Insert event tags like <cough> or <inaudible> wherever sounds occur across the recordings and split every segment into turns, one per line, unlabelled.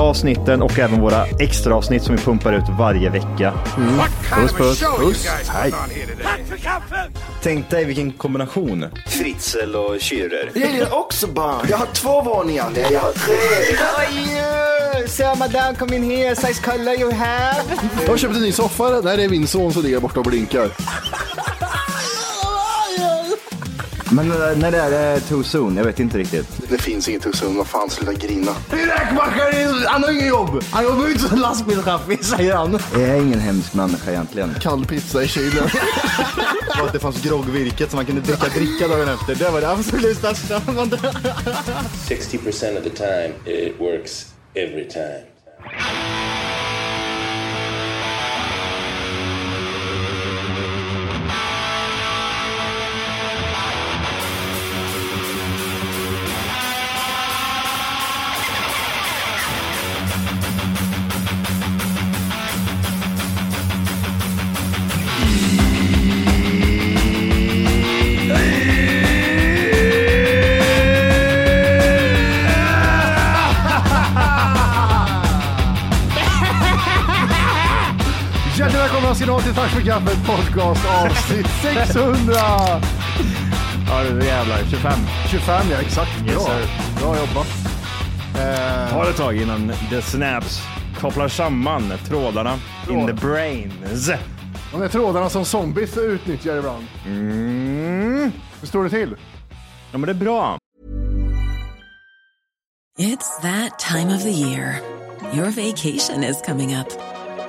avsnitten och även våra extra avsnitt som vi pumpar ut varje vecka.
What kind of a
puss,
show
puss.
you guys
Hej.
put on here today?
Tänk dig vilken kombination. Fritzl och Schürrer.
Jag gillar också barn. Jag har två våningar. Nej, jag har tre.
Sir, madame, come in here. Size color you have.
Jag har köpt en ny soffa. Nej, det är min son som ligger borta och blinkar.
Men eh, när det är det too soon? Jag vet inte riktigt.
Det finns inget husum. Vad fan, sluta grina.
Räkmackaren, han har inget jobb. Han jobbar inte som lastbilschaffis, säger han.
Jag är ingen hemsk människa egentligen.
Kall pizza
<laughs>
i kylen.
Att det fanns groggvirket som man kunde dricka dricka dagen efter. Det var det absolut största.
60% of the time, it works every time.
Hjärtligt välkomna ska ni ha till Tack för kaffet podcast avsnitt 600.
Ja du jävlar, 25.
25 ja, exakt. Bra,
Yes, sir.
Bra jobbat.
Ta det ett tag innan the snaps kopplar samman trådarna in the brains.
De där trådarna som zombies utnyttjar ibland.
Mm.
Hur står det till?
Ja men det är bra.
It's that time of the year. Your vacation is coming up.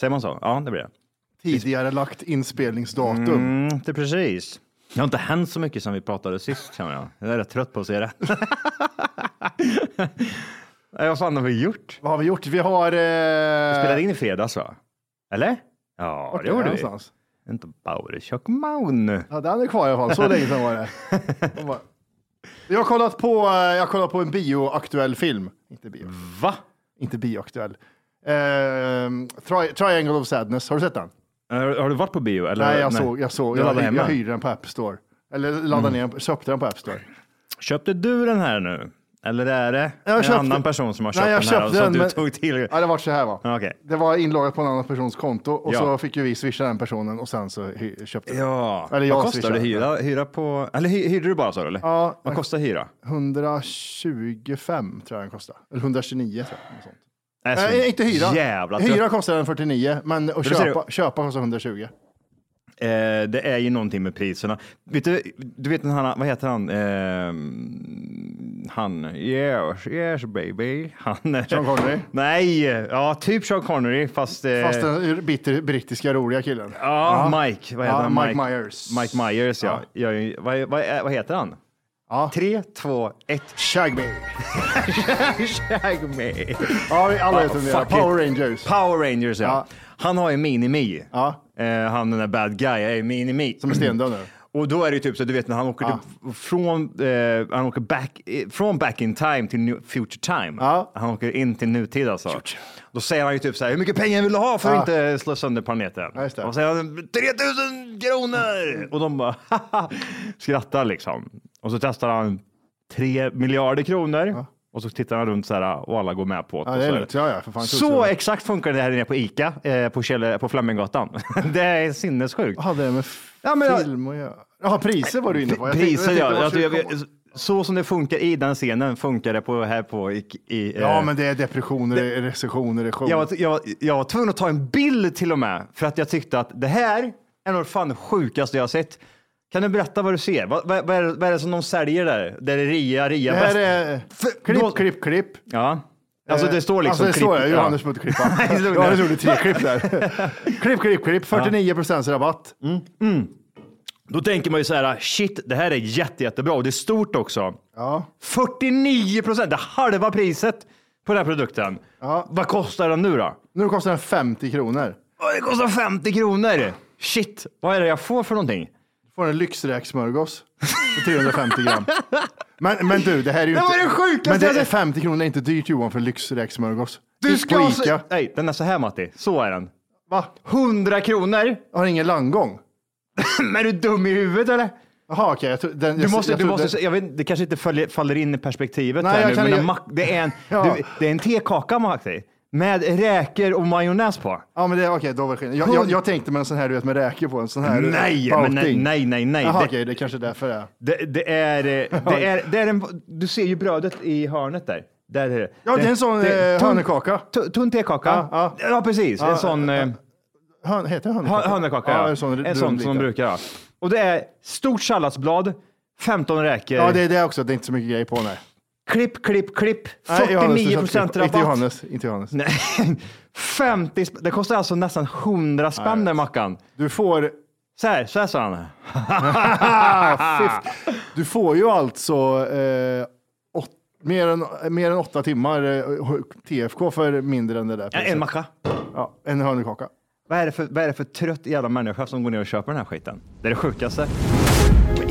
säger man så? Ja, det blir det.
Tidigare lagt inspelningsdatum.
Mm, det är precis. Det har inte hänt så mycket som vi pratade sist känner jag. Jag är rätt trött på att se det. <laughs> Nej, Vad fan har vi gjort?
Vad har vi gjort? Vi har... Eh...
Vi spelade in i fredags va? Eller? Ja, det gjorde vi.
någonstans.
Inte Bauertjock Maun.
Ja, den är kvar i alla fall. Så länge sedan var det.
<laughs>
De bara- Jag har kollat på, eh, jag har kollat på en bioaktuell film. Inte bio.
Va?
Inte bioaktuell. Ehm, tri- Triangle of Sadness. Har du sett den?
Eh, Har du varit på bio? Eller?
Nej, jag såg. Jag, såg.
Du
jag,
laddade
jag,
hem den. Mm.
hyrde den på App Store. Eller laddade ner den, köpte den på App Store.
Köpte du den här nu? Eller är det
Jag
en
köpte-
annan person som har köpt
Nej, jag
den här
köpte
och som
den,
du
men-
tog till? Ah,
Ja, det var så här va.
Okej.
Det var inloggat på en annan persons konto och
Ja.
så fick ju vi swisha den personen och sen så hy- köpte vi.
Ja.
Eller jag
Vad kostar det
swishade.
hyra, hyra på? Eller hy- hyrde du bara så eller?
Ja.
Vad kostar hyra?
125 tror jag den kostar. Eller 129 tror jag. något Sånt.
Jag är så
Nej, inte hyra.
Alltså, Jävla trött.
hyra kostar den 49, men att
du ser
köpa, köpa kostar 120.
Eh, det är ju någonting med priserna. Vet du, du vet den han, vad heter han? Eh, han, yes, yes baby. Han,
Sean Connery?
<laughs> Nej, ja typ Sean Connery fast... eh,
Fast den bitter, brittiska roliga killen.
Ja, Mike. Vad heter
Ja,
han?
Mike Myers.
Mike Myers, ja. Gör ju- vad, vad, vad heter han?
Ja.
Tre, två,
<laughs>
ett.
Shagme.
Shagme.
Ja, vi alla vet vem det är.
Ah, fuck it.
Power Rangers.
Power Rangers, ja.
Ja.
Han har ju Minimi.
Ja.
Eh, han den där bad guy är ju Minimi. Mm.
Som är stendöd nu.
Och då är det ju typ så, du vet när han åker, till, från, eh, han åker back, eh, från back in time till new, future time.
Ja.
Han åker in till nutid alltså. Då säger han ju typ så här, hur mycket pengar vill du ha för att
Ja.
inte slå sönder planeten?
Ja, just det. Mm.
Och säger han, 3000 kronor! Och de bara, haha, skrattar liksom. Och så testar han 3 miljarder kronor. Och så tittar han runt så här och alla går med på det.
Ja,
Och
det
så
är
här.
lugnt. Ja, ja, för fan.
Så exakt funkar det här nere på Ica eh, på, Kjell, på Flamminggatan. <laughs> det är sinnessjukt.
Hade det med
Ja, men jag-
film att göra? Jaha, priser var du inne på. Jag tänkte-
Priser
jag tänkte,
ja.
vad
Alltså, jag,
skulle
vet- så som det funkar i den scenen funkar det på, här på i, i, eh,
Ja, men det är depressioner, det är recessioner, det är show.
jag, var- jag, jag var tvungen att ta en bild till och med för att jag tyckte att det här är nog fan det sjukaste jag har sett. Kan du berätta vad du ser? Vad, vad, vad, är, det- vad är det som de säljer där? Där det är ria, ria
det här
bäst.
är klipp,
då-
klipp, klipp.
Ja. Alltså det står
Alltså
liksom...
det står jag,
klipp-
Johannes
ja.
Mutterklippa.
<laughs> Nej, det stod
Johannes
där.
gjorde tre klipp där. <laughs> klipp, klipp, klipp. 49 procents rabatt.
Då tänker man ju så här, shit, det här är jätte, jättebra och det är stort också.
Ja.
49 procent, det är halva priset på den här produkten. Vad kostar den nu då?
Nu kostar den 50 kronor.
Åh, det kostar 50 kronor! Shit, vad är det jag får för någonting?
Du får en lyxräksmörgås på 350 gram. Men, men du, det här är ju
Det
inte...
var det sjukaste
Men
jag
det är
sett.
50 kronor, det är inte dyrt Johan för en lyxräksmörgås. I- På
ha-
Ica.
Nej, den är så här Matti, så är den.
Va?
100 kronor? <clears throat>
Har ingen landgång?
Men är du dum i huvudet eller?
Jaha, okej. jag tro- den-
Du
jag-
måste,
jag
du
trodde-
måste, jag vet, det kanske inte följer, faller in i perspektivet
Nej,
här
jag
nu,
kan-
men en
jag-
mack, det, är en,
<laughs> Ja.
du, det är en tekaka Matti, med räkor och majonnäs på.
Ja, men det okej, då var det skillnad. Jag, jag, jag tänkte med en sån här, du vet, med räkor på. En sån här
Nej,
outing.
men nej, nej, nej. nej.
Jaha,
Det-
okej, det är kanske är därför det är.
Det, det är,
<laughs>
eh, det är, det är en, du ser ju brödet i hörnet där. där är det.
Ja, det är en sån, eh,
tunn-
hönekaka.
tu- Tunn tekaka.
Ja, ja.
precis. en sån eh,
Hön, heter det
hö-
hönekaka?
hönekaka. Ja,
en sån,
en sån som de brukar ha. Och det är stort salladsblad, 15 räkor,
Ja, det är det också. Det är inte så mycket grejer på. Nej.
klipp, klipp, klipp,
Nej, Johannes, du
49
köpte
procent
klipp. Inte
rabatt.
Johannes. Inte Johannes.
Nej, <laughs> 50 sp- Det kostar alltså nästan 100 spänn den mackan.
Du får,
Så här, så här sa han. Ah,
Ah, du får ju alltså eh, åt, mer, än, mer än åtta timmar eh, TFK för mindre än det där.
Ja, En macka.
Ja, en hönekaka.
Vad är, det för, vad är det för trött jävla människa som går ner och köper den här skiten? Det är det sjukaste.
Men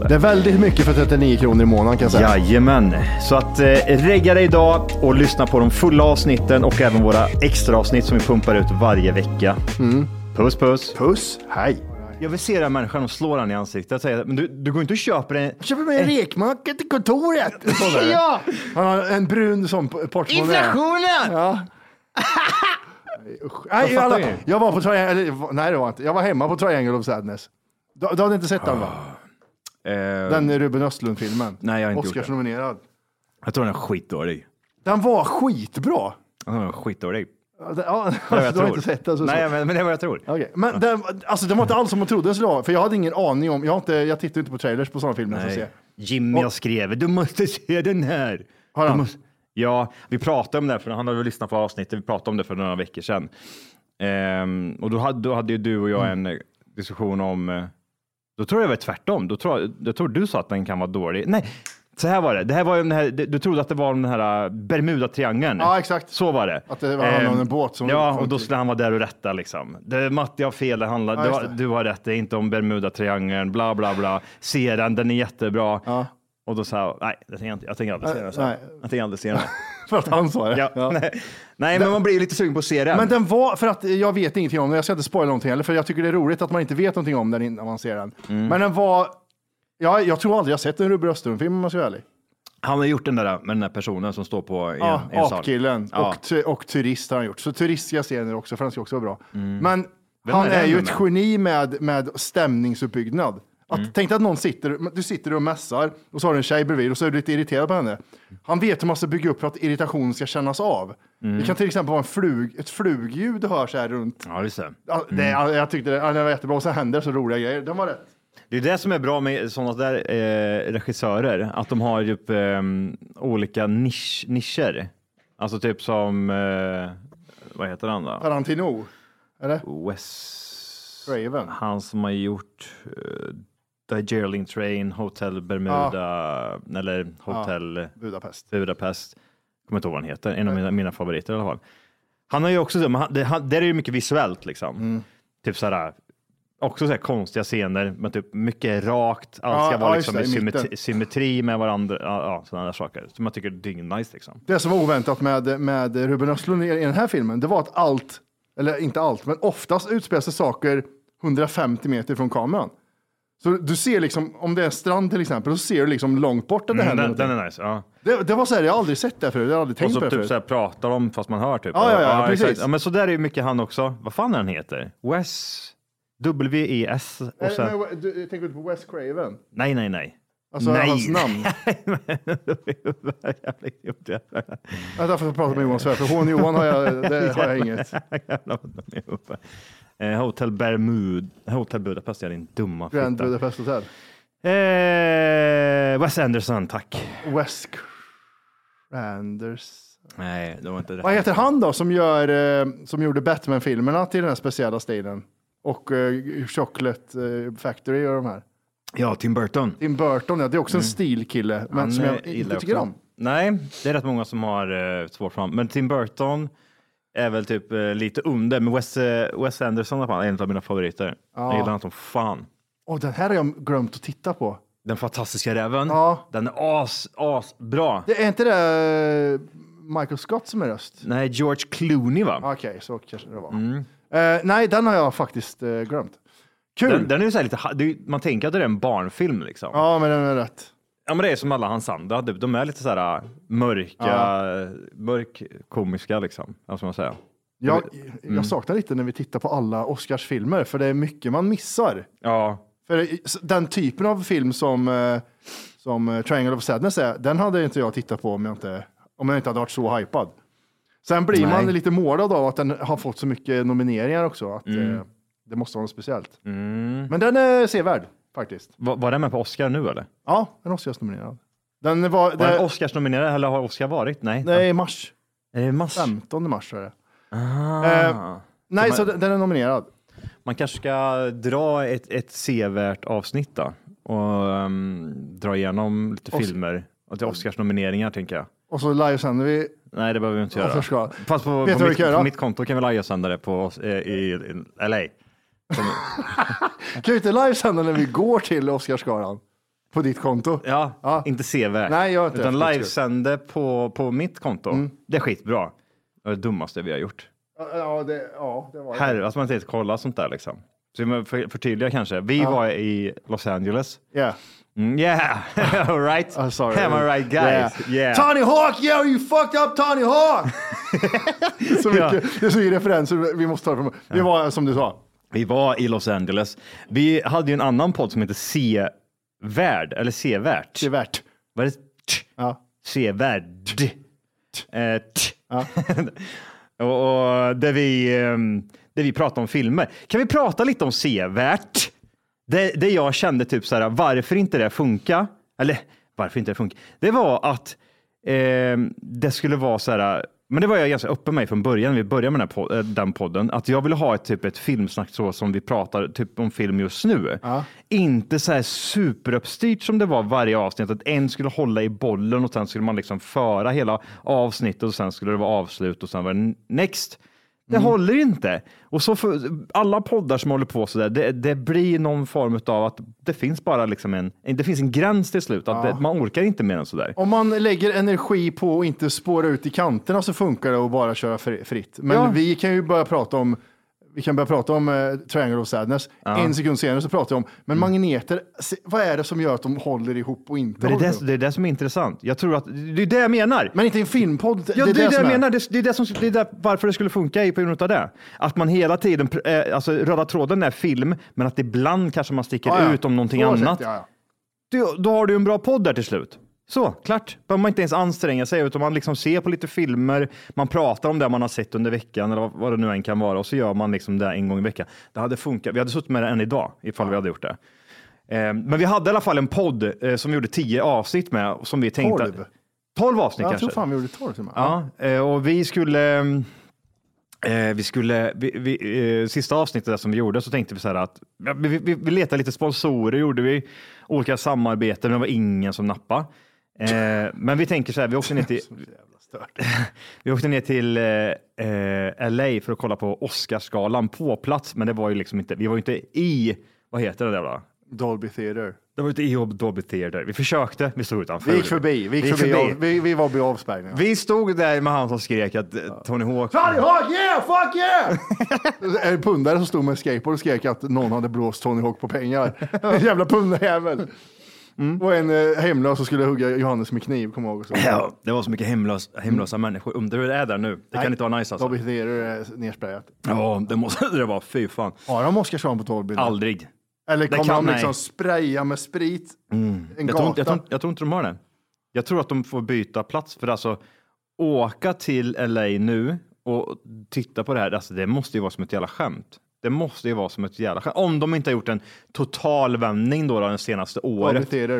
det.
Det är väldigt mycket för 39 kronor i månaden kan jag säga.
Jajamän, så att eh, regga dig idag och lyssna på de fulla avsnitten och även våra extra avsnitt som vi pumpar ut varje vecka. Puss puss.
Mm. Puss, hej.
Jag vill se den här människan och slå den i ansiktet och säga, men du, du går inte och köper en...
Köper mig en rekmacka till kontoret. <laughs> Så där.
Ja!
Eh. Han har en brun sån p- portmonnä. <laughs> Ja. Nej, usch. Nej,
Jag
jag,
fattar
alla,
ju.
jag var på Triangle, eller, nej det var inte. Jag var hemma på Triangle of Sadness. Du, du hade inte sett den va?
Eh,
Den Ruben Östlund-filmen.
Ah. Nej, jag har inte gjort det.
Oscarsnominerad.
Jag tror den är skitdålig.
Den var skitbra.
Jag tror den är skitdålig.
Ja, den- Ja,
Det är vad
<laughs> Alltså, du har
jag tror.
inte sett den. Så
Nej, men, men det är vad jag tror.
Okej, Men den, alltså, den var inte alls som man trodde den skulle vara. För jag hade ingen aning om, jag, har inte, jag tittar inte på trailers på sådana filmer. Så att
Nej.
säga.
Jimmy, jag skrev, du måste se den här.
Har
Du <laughs>
han?
måste- Ja, vi pratade om det, här, för han hade väl lyssnat på avsnittet, vi pratade om det för några veckor sedan. Ehm, och då hade, då hade ju du och
Mm.
jag en eh, diskussion om, eh, då tror jag det var tvärtom, då tror, jag- jag tror du sa att den kan vara dålig. Nej, Så här var det. det, här var ju den här, du trodde att det var den här eh, Bermuda-triangeln.
Ja, exakt.
Så var det. Ehm,
Att det var handlade om en båt som...
Ja, och då skulle han vara där och rätta liksom. Det, Matti har fel, det handlar,
Ja,
du,
just
har, du har rätt, det är inte om Bermuda-triangeln, bla bla bla. Se den, den är jättebra. Och då sa jag, nej, det tänker jag inte. Jag tänker aldrig se den. sa jag.
Nej.
Jag tänker aldrig se
<laughs>
den.
För att han sa det.
Ja, <laughs> nej. nej, men man blir ju lite sugen på att se den.
Men den var, för att jag vet ingenting om den, jag ska inte spoila någonting heller, för jag tycker det är roligt att man inte vet någonting om den innan man ser den.
Mm.
Men den var, ja, jag tror aldrig jag sett en Ruben Östlund-film om jag ska vara ärlig.
Han har gjort den där med den där personen som står på en,
Ja,
en sal.
Apkillen
Ja.
och, tu- och Turist har han gjort. Så Turist ska jag se den också, för den ska också vara bra. Men
Mm. Vem
han
är
är,
det
ju
nu
ett
med?
geni med, med stämningsuppbyggnad. Att,
Mm.
Tänk dig att någon sitter, du sitter och mässar och så har du en tjej bredvid och så är du lite irriterad på henne. Han vet hur man ska bygga upp för att irritationen ska kännas av.
Mm.
Det kan till exempel vara en flug, ett flugljud du hör så här runt.
Ja, just det.
Ja, det, ja, Jag tyckte det, ja, det var jättebra och så händer så roliga grejer. Den var rätt.
Det är det som är bra med sådana där eh, regissörer, att de har typ eh, olika nisch, nischer. Alltså typ som, eh, vad heter han då?
Tarantino, eller?
Wes,
Craven.
han som har gjort eh, The Geraldine Train, Hotel Bermuda, eller Hotel
Budapest.
Budapest. Kommer inte ihåg vad han heter, en av mina, mina favoriter i alla fall. Han har ju också, det, men han, det, han, där är det mycket visuellt liksom.
Mm.
Typ sådär, också sådär konstiga scener, men typ mycket rakt, allt
Ja,
ska vara
ja, just
liksom
det,
i
i
symmetri,
mitten.
symmetri med varandra, ja, ja, sådana där saker som jag tycker är dyngnice liksom.
Det som var oväntat med, med Ruben Östlund i, i den här filmen, det var att allt, eller inte allt, men oftast utspelar sig saker 150 meter från kameran. Så du ser liksom, om det är en strand till exempel, så ser du liksom långt bort att det
Mm,
händer
den, den
någonting.
är nice, ja.
det, det var så här, jag har aldrig sett det förut, jag har aldrig
Och
tänkt
så
på det
typ
förut.
såhär pratar de fast man hör typ.
Ja, ja, ja,
exakt.
precis.
Ja, men så där är ju mycket han också. Vad fan är han heter? Wes, W-E-S och
Nej,
sen,
Eh, men, du, tänker du på Wes Craven?
nej, nej, nej. <laughs>
Alltså
nej.
hans namn.
Jävla idiot, jävla-
Vänta, får jag prata med Johan Svärd, för hon Johan har jag, det har jag inget.
Jävlar vad de är uppe. Eh, Hotel Bermud, Hotel Budapest, ja din dumma
Grand
fitta.
Budapest Hotel.
Eh, Wes Anderson, tack.
Wes Anders.
Nej, det var inte rätt.
Vad heter han då som, gör, eh, som gjorde Batman-filmerna till den här speciella stilen? Och eh, Chocolate eh, Factory och de här.
Ja, Tim Burton.
Tim Burton, ja, det är också en stilkille, men som jag
Mm. eh, gillar
inte tycker
också.
om.
Nej, det är rätt många som har eh, svårt fram. Men Tim Burton är väl typ eh, lite under, men Wes, eh, Wes Anderson är fan en av mina favoriter. Jag gillar honom som fan.
Och den här har jag glömt att titta på.
Den fantastiska räven,
Ja.
den är as, as bra.
Det är inte det eh, Michael Scott som är röst?
Nej, George Clooney va?
Okej, så kanske det var.
Mm.
Eh, nej, den har jag faktiskt eh, glömt. Kul!
Den, den är ju så här lite, ha- det är ju- man tänker att det är en barnfilm liksom.
Ja, men den är rätt.
Ja, men det är som alla hans andra. De- De är lite så här äh, mörka, mörk komiska liksom. Vad ska man säga?
Jag,
Mm.
jag saknar lite när vi tittar på alla Oscarsfilmer, för det är mycket man missar.
Ja,
För det- s- den typen av film som, eh, som eh, Triangle of Sadness är, den hade inte jag tittat på om jag inte, om jag inte hade varit så hypad. Sen blir man lite målad av att den har fått så mycket nomineringar också, att eh, det måste vara något speciellt. Men den är sevärd faktiskt.
var, var den med på Oscar nu eller?
Ja, den är Oscarsnominerad. Den var,
Var den
det,
Oscarsnominerad eller har Oscar varit? Nej. Eh,
nej, i mars.
Är det mass?
15 mars är det. Eh,
Ah.
Nej, så den den är nominerad.
Man kanske ska dra ett, ett sevärt avsnitt då och ehm, dra igenom lite filmer. Och till Oscarsnomineringar tänker jag.
Och så livesänder vi.
Nej, det behöver vi inte
Ja,
göra.
för ska.
Fast på,
Vet du
på,
vad vi
mitt,
kan göra?
på mitt konto kan vi live-sända det på, oss, eh, i, i LA.
Kan vi inte livesända när vi går till Oscarsgalan? På ditt konto?
Ja,
Ja.
inte CV.
Nej, jag har inte
utan
haft det, Mm.
livesände på, på mitt konto. Det är skitbra. Det är det dummaste vi har gjort.
Ja, det, ja, det var det.
Här, att man inte ens kollar sånt där liksom. Så vi måste för- förtydliga kanske. Vi var i Los Angeles.
Yeah.
Mm, yeah, <laughs> all right.
I'm Oh, sorry.
Am I right guys?
Yeah. Tony Hawk, yeah you fucked up Tony Hawk! <laughs> så mycket, Det är så mycket referenser vi måste ta från Vi var som du sa.
Vi var i Los Angeles. Vi hade ju en annan podd som heter C-värd, eller C-värt.
Det är värt.
Vad är det? Tch.
Ja.
Sevärd. Eh, tch. <laughs> och, och där vi, ehm, där vi pratar om filmer. Kan vi prata lite om sevärt? Det, det jag kände typ så här, varför inte det funka? Eller varför inte det funka? Det var att ehm, det skulle vara så här, Men det var jag ganska öppen med från början, när vi började med den, här pod- eh, den podden, att jag ville ha ett, typ, ett filmsnack så som vi pratar typ, om film just nu. Inte så här superuppstyrt som det var varje avsnitt, att en skulle hålla i bollen och sen skulle man liksom föra hela avsnittet och sen skulle det vara avslut och sen var det next. Det håller inte. Och så för, alla poddar som håller på sådär, det, det blir någon form av att det finns bara liksom en, det finns en gräns till slut, att
Ja.
det, man orkar inte mer än sådär.
Om man lägger energi på att inte spåra ut i kanterna så funkar det att bara köra fri- fritt. Men
Ja.
vi kan ju börja prata om vi kan börja prata om eh, Triangle of Sadness. En sekund senare så pratar vi om, men magneter, se, vad är det som gör att de håller ihop och inte
Mm. Men det,
håller
är
ihop?
det, det är det som är intressant. Jag tror att, det är det jag menar.
Men inte i en filmpodd.
Ja, det, är det,
som
jag
är.
menar. Det, det är det som, det är där, varför det skulle funka är på grund av det. Att man hela tiden, pr- eh, alltså röda tråden är film, men att ibland kanske man sticker
Ja, ja.
ut om någonting
Så
annat.
sett, ja, ja.
Du, då har du en bra podd där till slut. Så, klart. Behöver man inte ens anstränga sig, utan man liksom ser på lite filmer, man pratar om det man har sett under veckan eller vad- vad det nu än kan vara och så gör man liksom det en gång i veckan. Det hade funkat. Vi hade suttit med det än idag ifall vi hade gjort det. Eh, Men vi hade i alla fall en podd eh, som vi gjorde tio avsnitt med som vi tänkte...
Tolv?
Tolv avsnitt
Jag
kanske?
tror fan vi gjorde torr till och med.
Ja, eh, och vi skulle... eh, Vi skulle, vi, vi, eh, sista avsnittet där som vi gjorde så tänkte vi så här att ja, vi, vi, vi letade lite sponsorer, gjorde vi olika samarbeten, men det var ingen som nappade. Eh, Men vi tänker så här, vi åkte
<laughs>
ner till, <laughs> vi åkte ner till eh, eh, LA för att kolla på Oscarsgalan på plats, men det var ju liksom inte, vi var ju inte i, vad heter det där då?
Dolby Theatre.
Det var ju inte i Dolby Theatre. Vi försökte, vi stod utanför.
Vi gick förbi, vi, gick förbi, av- vi, vi var vid avspärrningen.
Vi stod där med han som skrek att eh, Tony Hawk...
Tony Hawk, yeah, fuck yeah! <laughs> en pundare som stod med skateboard och skrek att någon hade blåst Tony Hawk på pengar. <laughs> En jävla pundarjävel. Och en eh, hemlös som skulle hugga Johannes med kniv, kommer jag ihåg. också.
Ja, det var så mycket hemlös, hemlösa människor. Undrar hur det är där nu. Det
Nej,
kan inte vara nice alltså.
Dolby Theatre är nersprayat.
Ja, det måste <laughs> det vara. Fy fan.
Har de Oscarsson på Dolby? nu?
Aldrig.
Eller
Det
kommer
kan-
de liksom
nej.
spraya med sprit? En
Jag tror, inte,
gata?
jag, tror, inte- jag tror inte de har det. Jag tror att de får byta plats för alltså åka till LA nu och titta på det här. Alltså, det måste ju vara som ett jävla skämt. Det måste ju vara som ett jävla skämt. Om de inte har gjort en total vändning då, då det senaste
Dolby
året.
Theatre.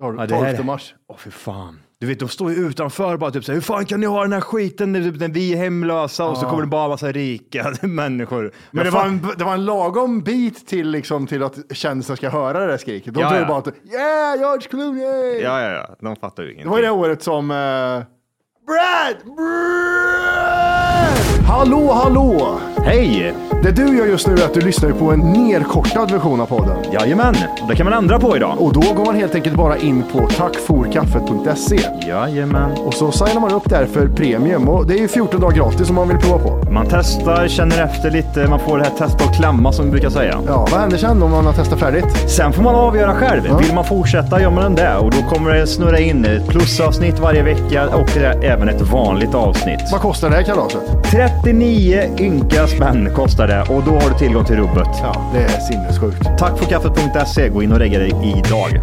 Tor-
Ja, det här-
12 mars.
Åh, för fan. Du vet, de står ju utanför bara typ så här, hur fan kan ni ha den här skiten när, typ, när vi är hemlösa och så
Ja.
kommer det bara massa rika <laughs> människor.
Men det
Jag
var,
fan-
en, det var en lagom bit till, liksom, till att kändisen ska höra det där skriket. De
Ja,
tror ju
ja.
bara att yeah, George Clooney!
Ja, ja, ja. De fattar ju ingenting.
Det var ju det året som... eh, Brad! Brad! Hallå, hallå!
Hej!
Det du gör just nu är att du lyssnar ju på en nerkortad version av podden.
Jajamän, det kan man ändra på idag. Oh,
Och då går man helt enkelt bara in på tackforkaffet.se
Jajamän.
och så signar man upp där för premium och det är ju 14 dagar gratis om man vill prova på.
Man testar, känner efter lite, man får det här testa och klämma som vi brukar säga.
Ja, vad händer sen om man har testat färdigt?
Sen får man avgöra själv. Vill man fortsätta gör man det och då kommer det snurra in ett plusavsnitt varje vecka och det är även ett vanligt avsnitt.
Vad kostar det här kalaset?
39 ynka spänn kostar det och då har du tillgång till rubbet.
Ja, det är sinnessjukt.
Tack för kaffet.se. E. Gå in och lägg dig idag.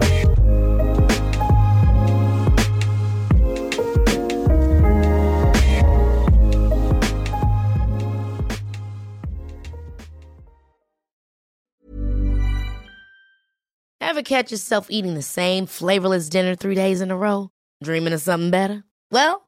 Ever catch yourself eating the same flavorless dinner three days in a row? Dreaming of something better? Well,